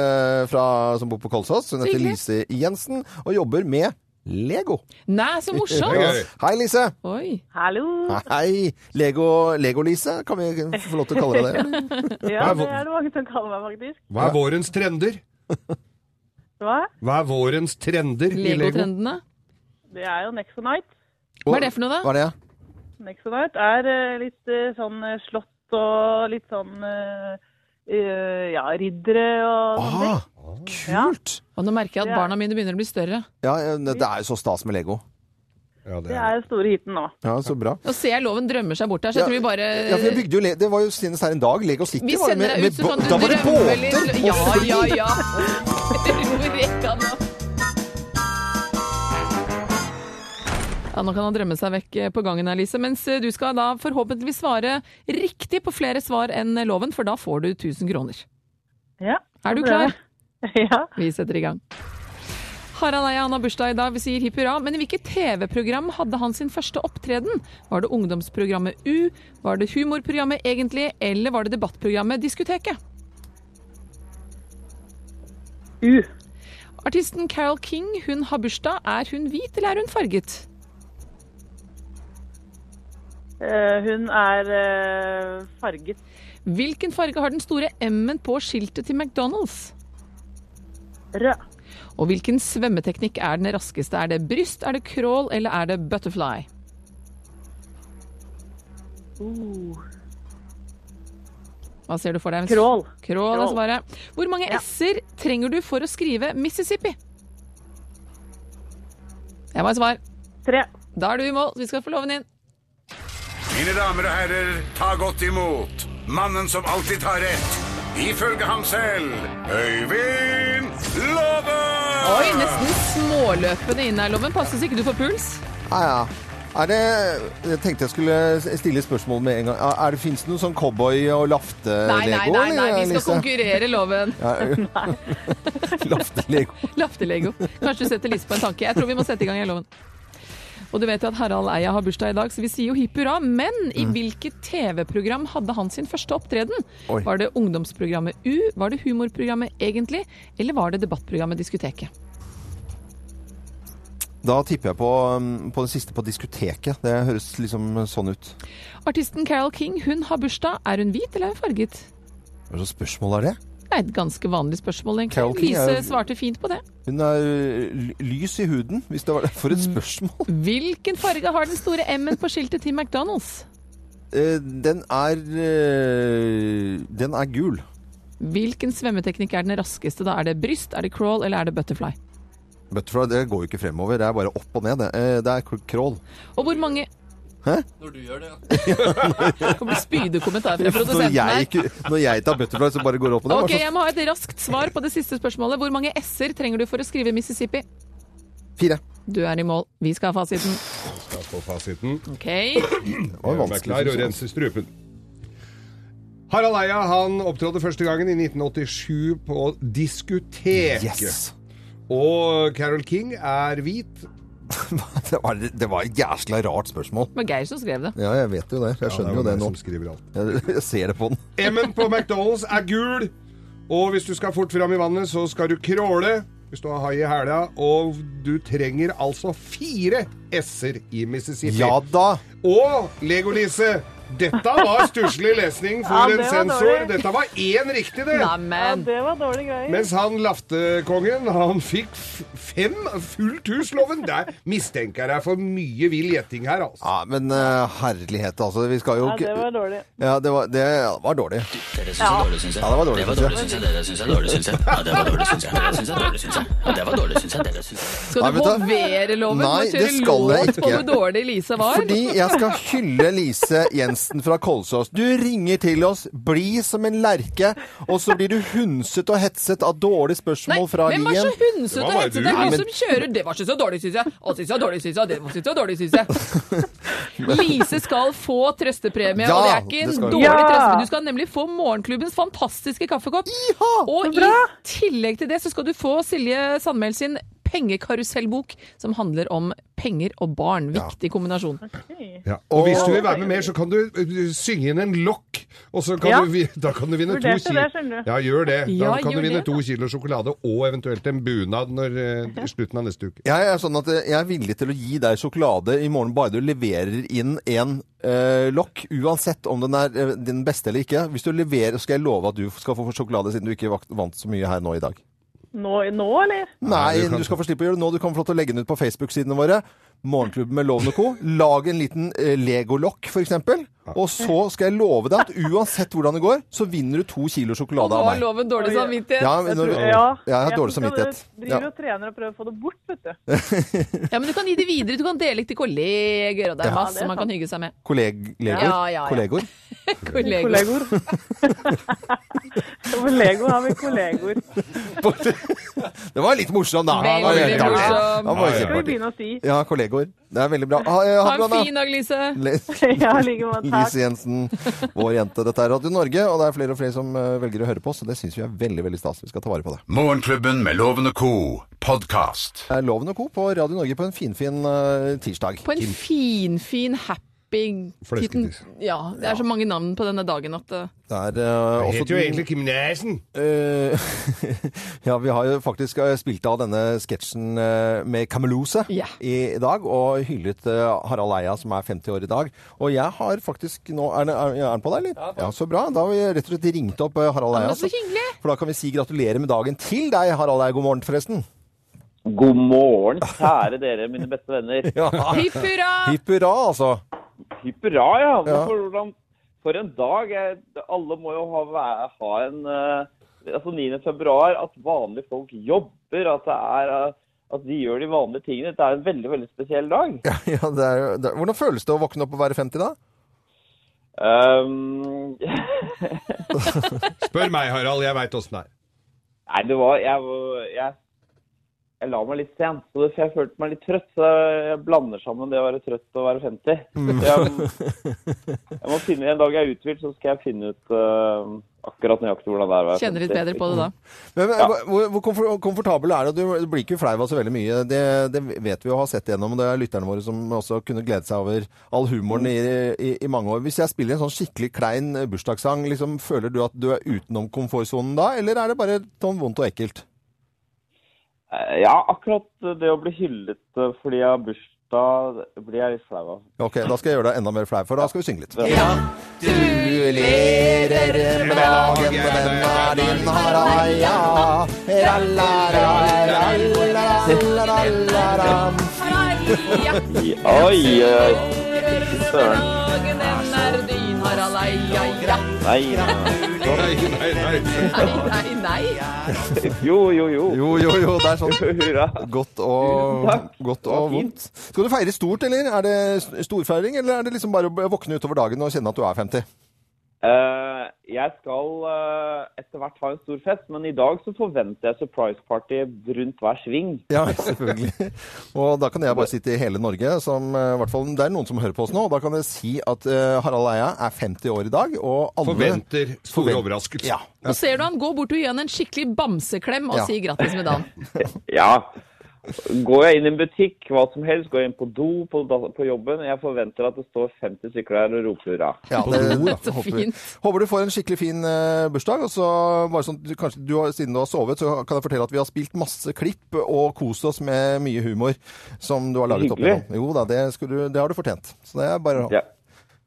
Speaker 3: fra, som bor på Kolsås. Hun heter
Speaker 5: Hyggelig.
Speaker 3: Lise Jensen og jobber med Lego.
Speaker 5: Nei, så morsomt!
Speaker 4: Gøy.
Speaker 3: Hei, Lise.
Speaker 5: Oi.
Speaker 10: Hallo.
Speaker 3: Hei. Lego- Lego-Lise, kan vi få lov til å kalle deg det?
Speaker 10: Ja,
Speaker 4: Hva er
Speaker 10: det
Speaker 4: vo-
Speaker 10: er det mange som kaller meg, faktisk.
Speaker 4: Hva er vårens trender?
Speaker 10: Hva?
Speaker 4: Hva er vårens trender i Lego?
Speaker 5: Legotrendene.
Speaker 10: Det er jo Nexonite.
Speaker 5: Hva er det for noe, da?
Speaker 3: Hva er det?
Speaker 10: Nexonite er eh, litt eh, sånn eh, slott og litt sånn eh, eh, ja, riddere og sånne ting.
Speaker 3: Ah, kult!
Speaker 5: Og nå merker jeg at barna mine begynner å bli større.
Speaker 3: Ja, det er jo så stas med Lego.
Speaker 4: Ja, det
Speaker 10: Det
Speaker 4: er
Speaker 10: er den store hiten nå.
Speaker 3: Ja, så bra.
Speaker 5: Nå ser jeg loven drømmer seg bort her, så jeg tror vi bare
Speaker 3: Ja, for jeg bygde jo, Le- Det var jo senest her en dag. Lego City
Speaker 5: Vi
Speaker 3: var det
Speaker 5: sender
Speaker 3: med,
Speaker 5: deg
Speaker 3: med
Speaker 5: ut, så
Speaker 3: bå-
Speaker 5: kan du
Speaker 3: Da var det
Speaker 5: drømme
Speaker 3: båter!
Speaker 5: litt. Ja,
Speaker 3: og
Speaker 5: ja,
Speaker 3: fly.
Speaker 5: ja. Ro rekka nå. Ja, Nå kan han drømme seg vekk eh, på gangen, her, Lise. Mens eh, du skal da forhåpentligvis svare riktig på flere svar enn eh, loven, for da får du 1000 kroner.
Speaker 10: Ja.
Speaker 5: Er du
Speaker 10: det er
Speaker 5: klar?
Speaker 10: det. Ja.
Speaker 5: Vi setter i gang. Harald Eia han har bursdag i dag, vi sier hipp hurra. Men i hvilket TV-program hadde han sin første opptreden? Var det ungdomsprogrammet U, var det humorprogrammet egentlig, eller var det debattprogrammet Diskoteket?
Speaker 10: U.
Speaker 5: Artisten Carol King hun har bursdag. Er hun hvit, eller er hun farget?
Speaker 10: Eh, hun er eh, farget
Speaker 5: Hvilken farge har den store M-en på skiltet til McDonald's?
Speaker 10: rød.
Speaker 5: Og hvilken svømmeteknikk er den raskeste? Er det bryst, er det crawl, eller er det butterfly?
Speaker 3: Oh.
Speaker 10: Uh,
Speaker 5: Hva ser du for deg?
Speaker 10: Crawl.
Speaker 5: Crawl er
Speaker 10: Crawl.
Speaker 5: svaret. Hvor mange s-er trenger du for å skrive Mississippi? Jeg må ha et svar.
Speaker 10: Tre.
Speaker 5: Da er du i mål. Vi skal få loven inn.
Speaker 2: Mine damer og herrer, ta godt imot mannen som alltid tar rett. Ifølge ham selv Øyvind Låve!
Speaker 5: Oi, nesten småløpende inn her, Loven. Passe så ikke du får puls.
Speaker 3: Ja, ja. Er det, jeg tenkte jeg skulle stille spørsmål med en gang. Er er det, Fins det noe sånn cowboy- og lafte-lego?
Speaker 5: Nei, nei, nei, nei, vi skal
Speaker 3: Lise?
Speaker 5: konkurrere, Loven.
Speaker 3: Lafte-lego.
Speaker 5: Laftelego. Kanskje du setter Lise på en tanke. Jeg tror vi må sette i gang, jeg, Loven. Og du vet jo at Harald Eia har bursdag i dag, så vi sier jo hipp hurra. Men i
Speaker 3: Mm.
Speaker 5: hvilket TV-program hadde han sin første opptreden?
Speaker 3: Oi.
Speaker 5: Var det ungdomsprogrammet U? Var det humorprogrammet Egentlig? Eller var det debattprogrammet Diskoteket?
Speaker 3: Da tipper jeg på, um, på det siste på diskoteket. Det høres liksom sånn ut.
Speaker 5: Artisten Carol King hun har bursdag. Er hun hvit eller er hun farget?
Speaker 3: Hva slags spørsmål er det?
Speaker 5: Det er et ganske vanlig spørsmål,
Speaker 3: Carole
Speaker 5: egentlig.
Speaker 3: King er jo-
Speaker 5: Lise svarte fint på det.
Speaker 3: Hun er ø, lys i huden, hvis det var det. For et
Speaker 5: Mm.
Speaker 3: spørsmål!
Speaker 5: Hvilken farge har den store M-en på skiltet til McDonald's?
Speaker 3: Eh, Den er ø, Den er gul.
Speaker 5: Hvilken svømmeteknikk er den raskeste? da? Er det bryst, er det crawl eller er det butterfly?
Speaker 3: Butterfly det går jo ikke fremover. Det er bare opp og ned. Det, Eh, det er crawl.
Speaker 5: Og hvor mange
Speaker 3: Hæ?
Speaker 11: Når du gjør det, ja.
Speaker 5: Det kommer spydige kommentarer fra
Speaker 3: Når
Speaker 5: produsenten
Speaker 3: jeg,
Speaker 5: her.
Speaker 3: ikke- når jeg tar butterfly, så bare går det opp og ned.
Speaker 5: Ok, jeg må ha et raskt svar på det siste spørsmålet. Hvor mange s-er trenger du for å skrive Mississippi?
Speaker 3: Fire.
Speaker 5: Du er i mål. Vi skal ha fasiten.
Speaker 4: Skal få fasiten.
Speaker 5: Ok.
Speaker 4: Gjør meg klar og rense strupen. Harald Eia han opptrådte første gangen i 1987 på diskotek.
Speaker 3: Yes.
Speaker 4: Og Carol King er hvit.
Speaker 3: det, var, det var et jæskla rart spørsmål.
Speaker 5: Det var Geir som skrev det.
Speaker 3: Ja, jeg vet jo det. Jeg skjønner
Speaker 4: det er
Speaker 3: jo det
Speaker 4: meg
Speaker 3: nå.
Speaker 4: som skriver alt.
Speaker 3: Jeg, jeg ser det på den.
Speaker 4: M-en på McDonald's er gul, og hvis du skal fort fram i vannet, så skal du kråle hvis du har hai i hæla, og du trenger altså fire s-er i Mississippi.
Speaker 3: Ja da!
Speaker 4: Og Lego-Lise, dette var stusslig lesning for
Speaker 12: Ja, det
Speaker 4: en
Speaker 12: var
Speaker 4: sensor.
Speaker 12: dårlig.
Speaker 4: Dette var én riktig, det.
Speaker 12: Ja, det var dårlige greier.
Speaker 4: Mens han laftekongen, han fikk f- fem fullt hus-loven. Der mistenker jeg deg for mye vill gjetting her, altså.
Speaker 3: Ja, men eh, herlighet, altså. Vi skal jo
Speaker 4: Ja, det var dårlig.
Speaker 3: Ja, det var, det var dårlig.
Speaker 13: Dere syns jeg er dårlig, syns jeg.
Speaker 3: Ja, det var dårlig,
Speaker 13: Det var
Speaker 3: synes jeg.
Speaker 13: dårlig, syns jeg. Dere syns jeg er dårlig, syns jeg. Ja, det var dårlig, syns jeg. Dere syns jeg er dårlig, syns jeg. Ja, det var dårlig, syns jeg. Dere syns jeg.
Speaker 5: Skal du
Speaker 3: Nei, vet du-
Speaker 5: hovere loven
Speaker 3: Nei,
Speaker 5: og kjøre
Speaker 3: det skal jeg
Speaker 5: låt på
Speaker 3: ikke.
Speaker 5: hvor dårlig Lise var?
Speaker 3: Fordi jeg skal hylle Lise Jensen fra Kolsås. Du ringer til oss, bli som en lerke, og så blir du hunset og hetset av dårlige spørsmål fra
Speaker 5: Hvem
Speaker 3: Lien.
Speaker 5: var så hundset og hetset? Det
Speaker 3: Nei,
Speaker 5: er du
Speaker 3: men-
Speaker 5: som kjører. Det var ikke så dårlig, syns jeg. Og syns jeg er dårlig, syns jeg. Det var- syns jeg er dårlig, syns jeg. Lise skal få trøstepremie,
Speaker 3: Ja,
Speaker 5: og det er ikke en
Speaker 3: det skal hun.
Speaker 5: dårlig
Speaker 3: Ja!
Speaker 5: trøstepremie. Du skal nemlig få morgenklubbens fantastiske kaffekopp. og i tillegg til det så skal du få Silje Sandmæl sin pengekarusellbok, som handler om penger og barn. Viktig kombinasjon.
Speaker 4: Ja. Og hvis du vil være med mer, så kan du uh, synge inn en lokk, og så kan
Speaker 5: Ja.
Speaker 4: du, vi- da kan du vinne to
Speaker 5: Vurderte
Speaker 4: kilo.
Speaker 5: det, skjønner du.
Speaker 4: Ja, gjør det. Da
Speaker 5: Ja,
Speaker 4: kan du
Speaker 5: gjør
Speaker 4: vinne
Speaker 5: det,
Speaker 4: to kilo sjokolade og eventuelt en bunad når, uh, i slutten av neste uke.
Speaker 3: Jeg er sånn at jeg er villig til å gi deg sjokolade i morgen bare du leverer inn en eh, lokk, uansett om den er eh, din beste eller ikke. Hvis du leverer, skal jeg love at du skal få sjokolade siden du ikke vakt- vant så mye her nå i dag.
Speaker 12: Nå, nå, eller?
Speaker 3: Nei, du skal få slippe å gjøre det nå. Du kan få lov til å legge den ut på Facebook-sidene våre. Morgenklubben med Loven og Co. Lag en liten eh, Lego-lokk, f.eks. Og så skal jeg love deg at uansett hvordan det går, så vinner du to kilo
Speaker 5: Og
Speaker 3: sjokolade
Speaker 5: nå
Speaker 3: av
Speaker 5: har
Speaker 3: meg.
Speaker 5: loven dårlig
Speaker 12: Oi.
Speaker 5: samvittighet.
Speaker 3: Ja, men når- Ja, jeg har dårlig
Speaker 12: synes
Speaker 3: samvittighet.
Speaker 12: Jeg driver
Speaker 3: Ja.
Speaker 12: og trener og prøver å få det bort, vet du.
Speaker 5: Ja, men du kan gi det videre. Du kan dele det til kolleger, og det
Speaker 3: Ja.
Speaker 5: er
Speaker 12: Ja, det
Speaker 5: masse
Speaker 12: er
Speaker 5: man kan hygge seg med.
Speaker 3: Kolleg legor?
Speaker 5: Ja, ja, ja.
Speaker 3: Kollegor?
Speaker 5: Kollegor.
Speaker 12: Lego har vi kollegoer.
Speaker 3: Det var litt morsom, da.
Speaker 12: Veldig
Speaker 3: Det var helt artig.
Speaker 12: morsom.
Speaker 3: Det
Speaker 12: Skal
Speaker 3: var
Speaker 12: vi
Speaker 3: kjempeartig.
Speaker 12: begynne å si?
Speaker 3: Ja, kollegor. Det er veldig bra. Ha, eh,
Speaker 5: Ha
Speaker 3: det
Speaker 5: en
Speaker 3: bra, da.
Speaker 5: fin dag, Lise.
Speaker 3: Le-
Speaker 12: Ja, i like måte. Takk.
Speaker 3: Lise Jensen, vår jente. Dette er Radio Norge, og det er flere og flere som eh, velger å høre på oss, og det syns vi er veldig veldig stas. Vi skal ta vare på det.
Speaker 2: Morgenklubben med Loven og co. podkast.
Speaker 3: Det er Loven og Co. på Radio Norge på en finfin uh, tirsdag.
Speaker 5: På en finfin, happy
Speaker 3: Fløsketiss.
Speaker 5: kitten. Ja, det er så mange navn på denne dagen at eh,
Speaker 3: Det er, eh, også eh,
Speaker 4: heter jo egentlig Kim Nesen.
Speaker 3: ja, vi har jo faktisk eh, spilt av denne sketsjen eh, med Kamelose i, i dag, og hyllet eh, Harald Eia, som er 50 år i dag. Og jeg har faktisk nå Er den- er- er den på deg, eller? Ja, så bra. Da har vi rett og slett ringt opp eh, Harald
Speaker 5: Ja,
Speaker 3: Eia.
Speaker 5: men så hyggelig.
Speaker 3: for da kan vi si gratulerer med dagen til deg, Harald Eia. God morgen, forresten.
Speaker 14: God morgen, kjære dere, mine beste venner.
Speaker 5: Hipp hurra!
Speaker 3: Hipp hurra, altså.
Speaker 14: Hipp hurra, ja. Men
Speaker 3: Ja.
Speaker 14: For, hvordan- for en dag. Jeg, alle må jo ha, væ- ha en eh, Altså 9. februar, at vanlige folk jobber, at, det er, eh, at de gjør de vanlige tingene. Det er en veldig, veldig spesiell dag.
Speaker 3: Ja, det er, jo- det, hvordan føles det å våkne opp og være 50 da?
Speaker 14: Ehm,
Speaker 4: Spør meg, Harald. Jeg veit åssen det er.
Speaker 14: nei, det var jeg, var- jeg, jeg la meg litt sent, så det- for jeg følte meg litt trøtt. Så jeg blander sammen det å være trøtt og være 50.
Speaker 15: Mm.
Speaker 14: Jeg, jeg må finne, En dag jeg er uthvilt, så skal jeg finne ut eh, akkurat nøyaktig hvordan det er. å være
Speaker 5: kjenner litt
Speaker 14: 50.
Speaker 5: bedre på det da.
Speaker 3: Men, men, Hvor, hvor komfor- komfortabel er det? Du blir ikke flau av så veldig mye. Det, det vet vi og har sett gjennom. og Det er lytterne våre som også kunne glede seg over all humoren i, i, i mange år. Hvis jeg spiller en sånn skikkelig klein bursdagssang, liksom, føler du at du er utenom komfortsonen da, eller er det bare sånn vondt og ekkelt?
Speaker 14: Eh, Ja, akkurat det å bli hyllet eh, fordi jeg har bursdag, blir jeg litt flau av.
Speaker 3: Ok, da skal jeg gjøre deg enda mer flau, for da skal vi synge litt.
Speaker 14: Gratulerer med dagen,
Speaker 3: venner din Haraya.
Speaker 14: Oi, oi, oi. Fy søren. eh,
Speaker 5: Dagen den er din, Harald Eia. Ja.
Speaker 14: Nei, nei,
Speaker 4: nei.
Speaker 5: Nei, nei.
Speaker 14: Jo, jo, jo.
Speaker 3: Jo, jo, jo. Det er sånn godt og, godt og vondt. Skal du feire stort, eller? Er det s- storfeiring, eller er det liksom bare å våkne utover dagen og kjenne at du er 50?
Speaker 14: Eh, jeg skal eh, etter hvert ha en stor fest, men i dag så forventer jeg surprise party rundt hver sving.
Speaker 3: Ja, selvfølgelig. Og da kan jeg bare si til hele Norge, som eh, i hvert fall det er noen som hører på oss nå, og da kan jeg si at eh, Harald Eia er 50 år i dag, og alle
Speaker 4: Forventer store
Speaker 3: Forvent-
Speaker 4: overraskelser.
Speaker 3: Ja.
Speaker 5: Nå ser du han går bort og gir han en skikkelig bamseklem og
Speaker 14: Ja.
Speaker 5: sier grattis med dagen.
Speaker 14: Ja. Går jeg inn i en butikk, hva som helst, går jeg inn på do, på, da- på jobben, jeg forventer at det står 50 stykker der og roper hurra.
Speaker 3: Ja, det, håper, vi. håper du får en skikkelig fin eh, bursdag. Og så bare sånn, du, kanskje du har, Siden du har sovet, så kan jeg fortelle at vi har spilt masse klipp og kost oss med mye humor som du har laget opp
Speaker 14: Hyggelig.
Speaker 3: igjennom. Jo da, det, skulle, du- det har du fortjent. Så det er bare å
Speaker 14: Ja.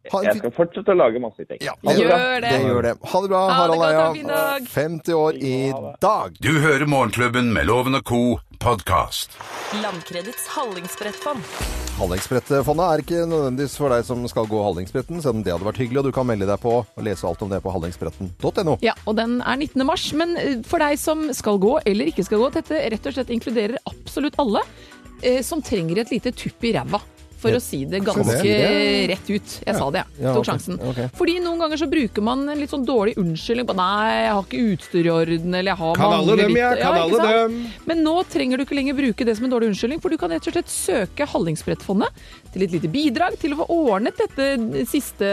Speaker 14: Jeg skal fortsette å lage masse ting.
Speaker 3: Ja,
Speaker 14: Ha det bra.
Speaker 3: det. gjør det. Ha det bra,
Speaker 5: Ha det
Speaker 3: Harald
Speaker 5: godt, ha en fin
Speaker 3: Eia.
Speaker 5: dag.
Speaker 3: 50 år i dag.
Speaker 2: Du hører Morgenklubben med Loven og Co. podkast.
Speaker 11: Landkredits hallingsbrettfond.
Speaker 3: Hallingsbrettfondet er ikke nødvendigvis for deg som skal gå Hallingsbretten, selv om det hadde vært hyggelig. Og du kan melde deg på og lese alt om det på hallingsbretten.no.
Speaker 5: Ja, og den er 19. mars. Men eh, for deg som skal gå eller ikke skal gå, dette rett og slett inkluderer absolutt alle eh, som trenger et lite tupp i ræva. For å si det
Speaker 11: Skal
Speaker 5: ganske
Speaker 11: vi si det?
Speaker 5: rett ut. Jeg sa det, jeg.
Speaker 11: Ja, ok,
Speaker 5: Tok sjansen.
Speaker 11: ok.
Speaker 5: Fordi noen ganger så bruker man en litt sånn dårlig unnskyldning på Nei, jeg har ikke utstyr i orden, eller jeg har
Speaker 4: Kan alle
Speaker 5: mangler
Speaker 4: dem,
Speaker 5: litt».
Speaker 4: jeg, kan
Speaker 5: ikke
Speaker 4: alle
Speaker 5: sant?
Speaker 4: dem.
Speaker 5: Men nå trenger du ikke lenger bruke det som en dårlig unnskyldning, for du kan rett og slett søke Hallingsbrettfondet til et lite bidrag til å få ordnet dette siste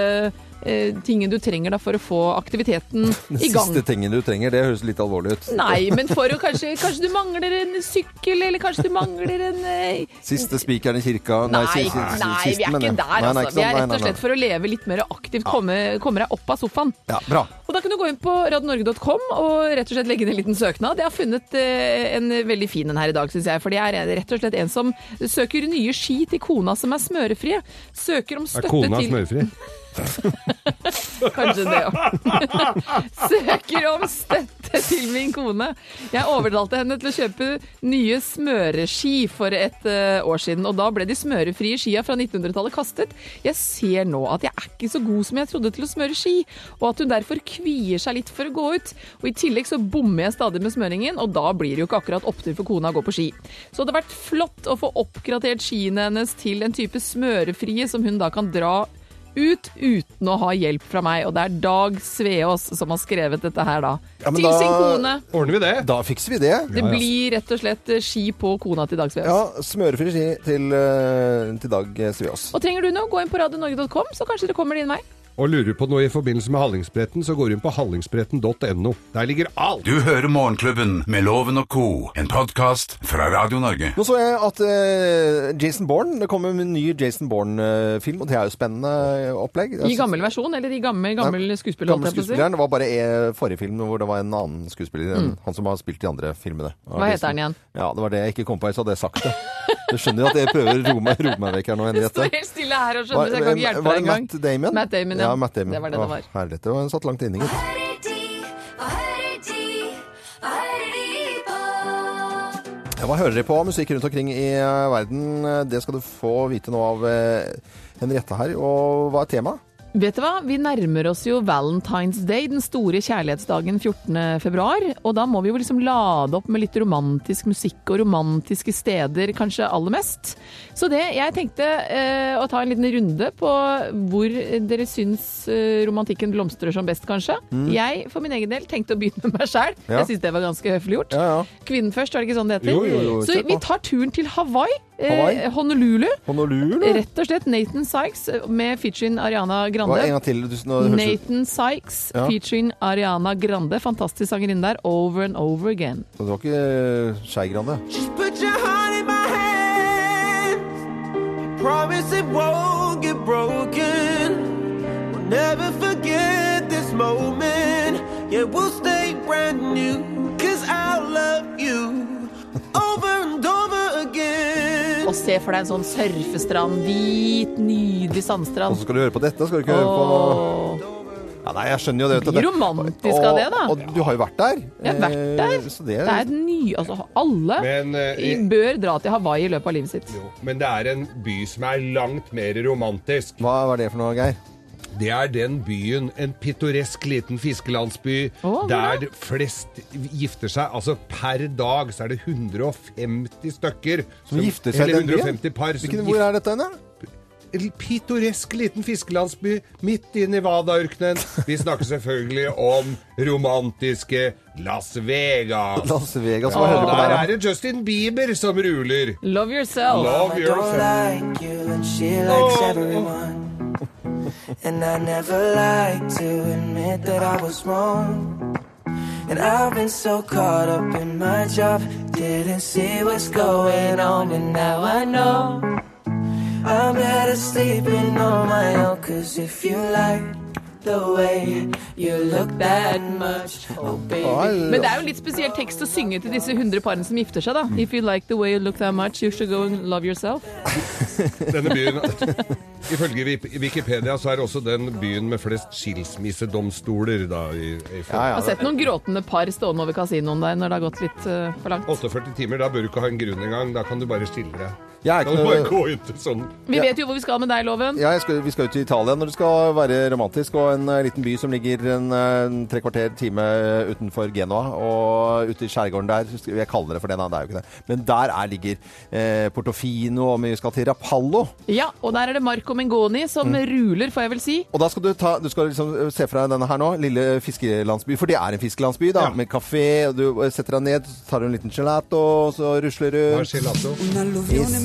Speaker 5: eh, tingen du trenger da for å få aktiviteten
Speaker 3: Den
Speaker 5: i gang.
Speaker 3: siste tingen du trenger, det høres litt alvorlig ut.
Speaker 5: Nei, men for å kanskje, kanskje du mangler en sykkel, eller kanskje du mangler en eh,
Speaker 3: Siste spikeren i kirka
Speaker 5: Nei,
Speaker 3: si- si- si-
Speaker 5: nei, vi er
Speaker 3: kisten, mener
Speaker 5: ikke
Speaker 3: jeg. Nei,
Speaker 5: der,
Speaker 3: nei,
Speaker 5: altså.
Speaker 3: ikke sant?
Speaker 5: Vi er
Speaker 3: Nei,
Speaker 5: rett
Speaker 3: nei,
Speaker 5: og
Speaker 3: nei.
Speaker 5: slett for å leve litt mer aktivt, komme, komme deg opp av sofaen.
Speaker 3: Ja, bra.
Speaker 5: Og da kan du gå inn på radionorge.com og rett og slett legge inn en liten søknad. Jeg har funnet eh, en veldig fin en her i dag, syns jeg. For det er rett og slett en som søker nye ski til kona som er smørefrie. Søker om
Speaker 4: Er
Speaker 5: støtte
Speaker 4: kona
Speaker 5: til
Speaker 4: smørfri?
Speaker 5: Kanskje det òg. Søker om støtte til min kone. Jeg overtalte henne til å kjøpe nye smøreski for et eh, år siden, og da ble de smørefrie skia fra 1900-tallet kastet. Jeg ser nå at jeg er ikke så god som jeg trodde til å smøre ski, og at hun derfor kvier seg litt for å gå ut. Og i tillegg så bommer jeg stadig med smøringen, og da blir det jo ikke akkurat opptur for kona å gå på ski. Så det hadde vært flott å få oppgradert skiene hennes til en type smørefrie som hun da kan dra ut uten å ha hjelp fra meg. Og det er Dag Sveås som har skrevet dette her, da.
Speaker 3: Ja, men
Speaker 5: til
Speaker 3: da
Speaker 5: sin kone.
Speaker 4: Ordner vi det?
Speaker 3: Da fikser vi det.
Speaker 5: Det blir rett og slett eh, ski på kona til Dag Sveås.
Speaker 3: Ja, smørefri ski til, eh, til Dag Sveås.
Speaker 5: Og trenger du noe, gå inn på radionorge.com, så kanskje det kommer din vei.
Speaker 4: Og lurer på noe i forbindelse med Hallingsbretten, så går du inn på hallingsbretten.no. Der ligger alt!
Speaker 2: Du hører Morgenklubben med Loven og Co., en podkast fra Radio Norge.
Speaker 3: Nå så jeg at eh, Jason Bourne Det kommer en ny Jason Bourne-film, og det er jo spennende opplegg.
Speaker 5: I gammel versjon, eller i gammel, gammel skuespiller.
Speaker 3: Gamle
Speaker 5: holdt jeg på å si.
Speaker 3: skuespilleren. Det var bare eh, forrige film hvor det var en annen skuespiller. enn Han som har spilt de andre filmene.
Speaker 5: Mm. Hva heter han igjen?
Speaker 3: Ja, Det var det jeg ikke kom på, så hadde jeg sagt det. Du skjønner jo at jeg prøver å roe meg- roe meg vekk her nå,
Speaker 5: Du
Speaker 3: Henriette.
Speaker 5: står helt stille her og skjønner, så jeg kan ikke hjelpe
Speaker 3: var det
Speaker 5: deg engang.
Speaker 3: Matt Damon?
Speaker 5: Matt Damon, ja.
Speaker 3: ja. Matt Damon.
Speaker 5: Det var det det
Speaker 3: Å,
Speaker 5: var.
Speaker 3: herlig, det var. Han satt langt inne, gitt. Ja, Hva hører dere på av musikk rundt omkring i eh, verden? Det skal du få vite nå av eh, Henriette her. Og hva er temaet?
Speaker 5: Vet du hva, vi nærmer oss jo Valentine's Day, den store kjærlighetsdagen 14. februar. Og da må vi jo liksom lade opp med litt romantisk musikk og romantiske steder, kanskje aller mest. Så det, jeg tenkte eh, å ta en liten runde på hvor dere syns eh, romantikken blomstrer som best, kanskje.
Speaker 11: Mm.
Speaker 5: Jeg for min egen del tenkte å begynne med meg sjæl.
Speaker 11: Ja.
Speaker 5: Jeg syns det var ganske høflig gjort. Kvinnen først, er det ikke sånn det heter?
Speaker 11: Jo, jo, jo,
Speaker 5: Så
Speaker 11: kjør på.
Speaker 5: vi tar turen til Hawaii.
Speaker 3: Hawaii?
Speaker 5: Eh, Honolulu.
Speaker 3: Honolulu?
Speaker 5: Rett og slett Nathan Sykes eh, med featuring Ariana Grande.
Speaker 3: Hva, en gang til, du- nå høres det ut-
Speaker 5: Nathan Sykes
Speaker 3: Ja.
Speaker 5: featuring Ariana Grande. Fantastisk sangerinne der. Over and over again.
Speaker 3: Så Det var ikke eh, Skei Grande.
Speaker 15: Put your heart in my hands. Promise it won't get broken. We'll never forget this moment. Yeah, we'll stay brand new. Cause I'll love you over and over again.
Speaker 5: Og se for deg en sånn surfestrand. Hvit, nydelig
Speaker 3: Og
Speaker 5: sandstrand.
Speaker 3: så skal du høre på dette, skal du ikke høre på ja, Nei, jeg skjønner jo det. vet du.
Speaker 5: Blir romantisk av det, da.
Speaker 3: Og, og du har jo vært der.
Speaker 5: Jeg har vært der.
Speaker 3: Eh, Så
Speaker 5: Det
Speaker 3: det,
Speaker 5: er et ny... Altså, alle
Speaker 4: Men, eh,
Speaker 5: i- bør dra til Hawaii i løpet av livet sitt.
Speaker 4: Men det er en by som er langt mer romantisk.
Speaker 3: Hva var det for noe, Geir?
Speaker 4: Det er den byen, en pittoresk liten fiskelandsby, der flest gifter seg. Altså per dag så er det 150 stykker
Speaker 3: Som gifter seg i
Speaker 4: eller
Speaker 3: den byen?
Speaker 4: 150 par som
Speaker 3: Hvilken- hvor er dette hen,
Speaker 4: En pittoresk liten fiskelandsby midt i Nevada-ørkenen. Vi snakker selvfølgelig om romantiske Las Vegas.
Speaker 3: Las Vegas, hva
Speaker 4: ja,
Speaker 3: hører du på der,
Speaker 4: der
Speaker 3: da?
Speaker 4: er det Justin Bieber som ruler.
Speaker 5: Love yourself.
Speaker 4: Love yourself.
Speaker 16: like you and she likes everyone. And I never like to admit that I was wrong. And I've been so caught up in my job, didn't see what's going on, and now I know I'm better sleeping on my own. Cause if you like the way you look that much, oh baby.
Speaker 5: Men det er jo litt spesiell tekst å synge til disse 100 parene som gifter seg, da.
Speaker 3: Mm.
Speaker 5: If you like the way you look that much, you should go and love yourself.
Speaker 4: Denne byen, Ifølge Wik- Wikipedia så er det også den byen med flest skilsmissedomstoler. Da, i, i
Speaker 5: Jeg har sett noen gråtende par stående over kasinoen der når det har gått litt eh, for langt.
Speaker 4: 48 timer, da bør du ikke ha en grunn engang. Da kan du bare stille deg.
Speaker 3: Jeg er
Speaker 4: Da kan
Speaker 3: ikke
Speaker 4: du bare
Speaker 3: noe-
Speaker 4: gå ut til sånn
Speaker 5: Vi vet jo hvor vi skal med deg, Loven.
Speaker 3: Ja, jeg skal, vi skal ut til Italia når det skal være romantisk, og en eh, liten by som ligger en, eh, en tre kvarter time eh, utenfor Genoa, og ute i skjærgården der, husker- jeg kaller det for det, nei, det er jo ikke det, men der er, ligger eh, Portofino, og vi skal til Rapallo,
Speaker 5: Ja, og der er det Marco Mengoni som
Speaker 3: Mm.
Speaker 5: ruler, får jeg vel si.
Speaker 3: og da skal du, ta, du skal liksom se for deg denne her nå, lille fiskelandsby, for det er en fiskelandsby da, med kafé, og du eh, setter deg ned, så tar du en liten gelato, og så rusler du.
Speaker 4: Hva er gelato?
Speaker 16: Un'alluvione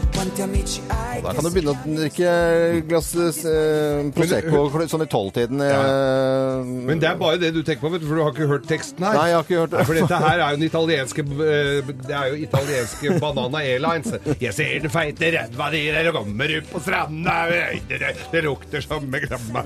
Speaker 16: quanti amici hai
Speaker 3: Da
Speaker 16: che
Speaker 3: kan du begynne å drikke et glass eh, Prosecco kl- sånn i tolvtiden. eh?
Speaker 4: Men det er bare det du tenker på, vet du, for du har ikke hørt teksten her.
Speaker 3: Nei, jeg har ikke hørt det.
Speaker 4: Nei, For dette her er jo den italienske eh, Det er jo italienske Banana Airlines. Jeg ser den feite ræva di der og kommer ut på stranda Det, det, det lukter som en gramma.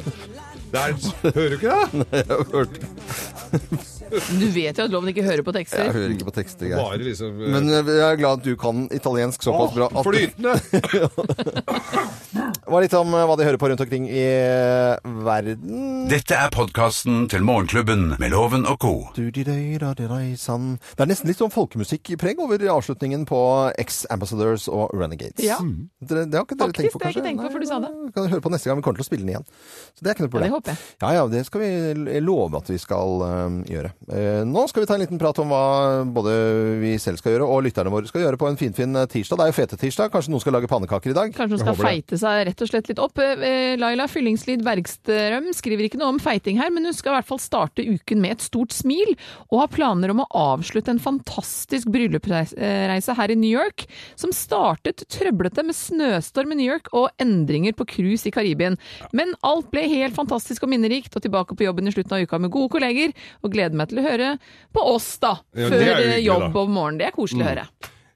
Speaker 4: Der, hører du ikke det?
Speaker 3: Nei, jeg har hørt det.
Speaker 5: Du vet jo at Loven ikke hører på
Speaker 3: Jeg
Speaker 5: tekster.
Speaker 3: hører ikke på tekster, jeg.
Speaker 4: Bare liksom, eh,
Speaker 3: Men eh, jeg er glad at du kan italiensk såpass
Speaker 4: Åh,
Speaker 3: bra. At det var litt om eh, hva de hører på rundt omkring i eh, verden.
Speaker 2: Dette er podkasten til Morgenklubben med Loven og co.
Speaker 3: Du, di, dei, da, di, dei, sann. Det er nesten litt sånn folkemusikkpreg over avslutningen på Ex-Ambassadors og Renegades. Mm.
Speaker 5: Ja.
Speaker 3: Dere, det har ikke dere tenkt
Speaker 5: Faktisk,
Speaker 3: på,
Speaker 5: det har
Speaker 3: kanskje?
Speaker 5: jeg ikke tenkt på
Speaker 3: Nei,
Speaker 5: før du sa det.
Speaker 3: Vi kan høre på neste gang. Vi kommer til å spille den igjen. Så det er ikke noe problem.
Speaker 5: Ja, det håper jeg.
Speaker 3: Ja, ja, det skal vi love at vi skal øhm, gjøre. Eh, nå skal vi ta en liten prat om hva både vi selv skal gjøre, og lytterne våre skal gjøre på en finfin fin tirsdag. Det er jo fete-tirsdag. Kanskje noen skal lage pannekaker i dag?
Speaker 5: Kanskje hun skal feite seg rett og slett litt opp. Eh, Laila Fyllingslid Bergstrøm skriver ikke noe om feiting her, men hun skal i hvert fall starte uken med et stort smil, og har planer om å avslutte en fantastisk bryllupsreise her i New York, som startet trøblete med snøstorm i New York og endringer på cruise i Karibien. Men alt ble helt fantastisk og minnerikt, og tilbake på jobben i slutten av uka med gode kolleger, og gleder meg til å høre på oss, da,
Speaker 4: Ja, det
Speaker 5: før
Speaker 4: er jo
Speaker 5: eh,
Speaker 4: hyggelig,
Speaker 5: jobb
Speaker 4: da.
Speaker 5: om morgenen. Det er koselig å høre.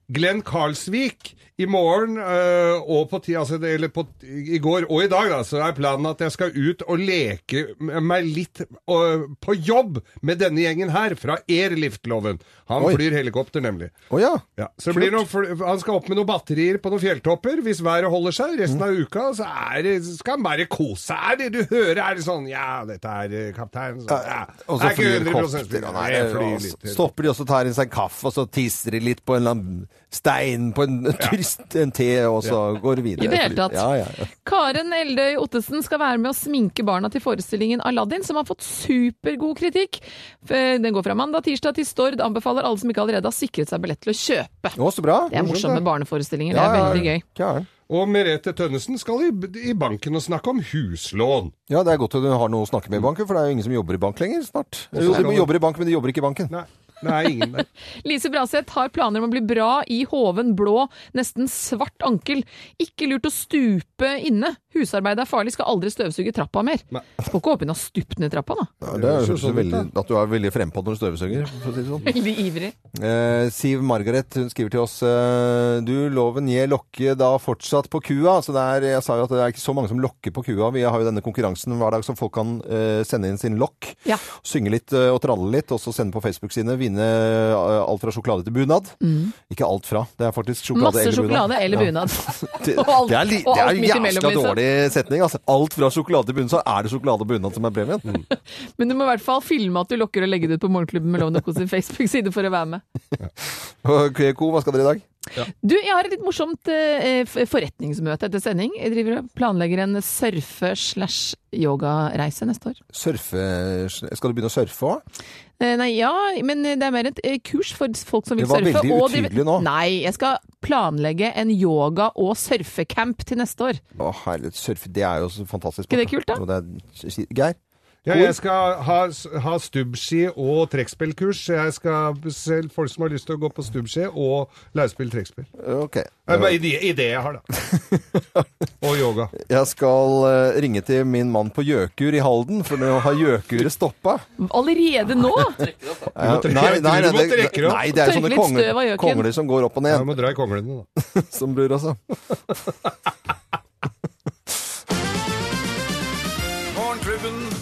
Speaker 4: Glenn Karlsvik i morgen eh, og på ti, altså, det- eller på, i går og i dag, da, så er planen at jeg skal ut og leke m- meg litt eh, på jobb med denne gjengen her, fra Airlift-loven. Han
Speaker 3: Oi.
Speaker 4: flyr helikopter, nemlig.
Speaker 3: Å ja.
Speaker 4: Så det blir noen, fl- han skal opp med noen batterier på noen fjelltopper hvis været holder seg. Resten av uka så er det, skal han bare kose seg. Er det du hører, er det sånn Ja, dette er eh, kaptein. Så, ja.
Speaker 3: Og så
Speaker 4: Det er
Speaker 3: flyr
Speaker 4: ikke
Speaker 3: de
Speaker 4: 100%
Speaker 3: kopter, og nei,
Speaker 4: Jeg flyr
Speaker 3: og så
Speaker 4: litt.
Speaker 3: stopper de og så tar de seg en kaffe, og så tisser de litt på en eller annen stein, på en, turist, en te, og så går de videre.
Speaker 5: I det hele tatt.
Speaker 3: Ja, ja, ja.
Speaker 5: Karen Eldøy Ottesen skal være med å sminke barna til forestillingen Aladdin, som har fått supergod kritikk. Eh, Den går fra mandag tirsdag til Stord. Anbefaler alle som ikke allerede har sikret seg billett til å kjøpe.
Speaker 3: Å, så bra.
Speaker 5: Det er
Speaker 4: Morsomt,
Speaker 5: morsomme
Speaker 4: da.
Speaker 5: barneforestillinger. Det er veldig gøy.
Speaker 4: Og Merete Tønnesen skal i, i banken og snakke om huslån.
Speaker 3: Ja, det er godt at du har noe å snakke med i banken, for det er jo ingen som jobber i bank lenger snart.
Speaker 4: Og så
Speaker 3: Jo,
Speaker 4: skal
Speaker 3: de
Speaker 4: du-
Speaker 3: jobber i bank, men de jobber ikke i banken.
Speaker 4: Nei, Nei ingen der.
Speaker 5: Lise Braseth har planer om å bli bra i hoven blå, nesten svart ankel. Ikke lurt å stupe inne. Husarbeid er farlig, skal aldri støvsuge trappa mer. Skal ikke håpe hun har stupt ned trappa, da.
Speaker 3: det
Speaker 4: høres jo
Speaker 3: høres jo
Speaker 4: sånn ut,
Speaker 3: veldig, at du er veldig frempå når du støvsuger, for å si det sånn.
Speaker 5: Veldig ivrig.
Speaker 3: Eh, Siv Margaret hun skriver til oss eh, Du, loven gir lokke da fortsatt på kua. Så det er, jeg sa jo at det er ikke så mange som lokker på kua. Vi har jo denne konkurransen hver dag som folk kan eh, sende inn sin lokk. Synge litt eh, og tralle litt, og så sende på Facebook-sidene. Vinne eh, alt fra sjokolade til bunad.
Speaker 5: Mm.
Speaker 3: Ikke alt fra. Det er faktisk sjokolade
Speaker 5: Masse
Speaker 3: eller bunad.
Speaker 5: sjokolade eller
Speaker 3: Ja.
Speaker 5: bunad.
Speaker 3: Det,
Speaker 5: Og alt-
Speaker 3: det er, li,
Speaker 5: og
Speaker 3: det er
Speaker 5: alt midt
Speaker 3: jæskla
Speaker 5: imellom, liksom.
Speaker 3: dårlig. dårlig setning. Altså, alt fra sjokolade i bunnen, så er det sjokolade i bunnen som er premien.
Speaker 5: Men du må i hvert fall filme at du lokker og legge det ut på Morgenklubben med Loven og Co. sin Facebook-side for å være med.
Speaker 3: Ok, Co, hva skal dere i dag?
Speaker 5: Du, jeg har et litt morsomt eh, f- forretningsmøte etter sending. Jeg driver og planlegger en surfe-slash-yogareise neste år.
Speaker 3: Surfe Skal du begynne å surfe òg?
Speaker 5: Eh, Nei, ja, men det er mer et eh, kurs for folk som vil
Speaker 3: Det var
Speaker 5: surfe.
Speaker 3: veldig
Speaker 5: og de-
Speaker 3: utydelig nå.
Speaker 5: Nei, jeg skal planlegge en yoga- og surfecamp til neste år.
Speaker 3: Å herlighet, surfe det er jo så fantastisk.
Speaker 5: Ikke det kult, da?
Speaker 3: Og Det er, Geir?
Speaker 4: Ja,
Speaker 3: Hvor?
Speaker 4: jeg skal ha, ha stubbski og trekkspillkurs. Jeg skal selv folk som har lyst til å gå på stubbski og leirspill trekkspill.
Speaker 3: Ok.
Speaker 4: Det er bare ide, idé jeg har, da. Og yoga.
Speaker 3: Jeg skal eh, ringe til min mann på Gjøkur i Halden, for nå har Gjøkuret stoppa.
Speaker 5: Allerede nå?
Speaker 3: Nei,
Speaker 4: Du må trekke-
Speaker 3: nei, nei,
Speaker 4: du må
Speaker 3: det-
Speaker 4: trekke opp.
Speaker 3: nei, det er jo
Speaker 5: Tørke
Speaker 3: sånne
Speaker 5: litt støv av
Speaker 3: kongler,
Speaker 5: gjøken.
Speaker 3: kongler som går opp og ned.
Speaker 4: Jeg må dra i konglene, da.
Speaker 3: som altså. bror også.
Speaker 2: Morgenklubben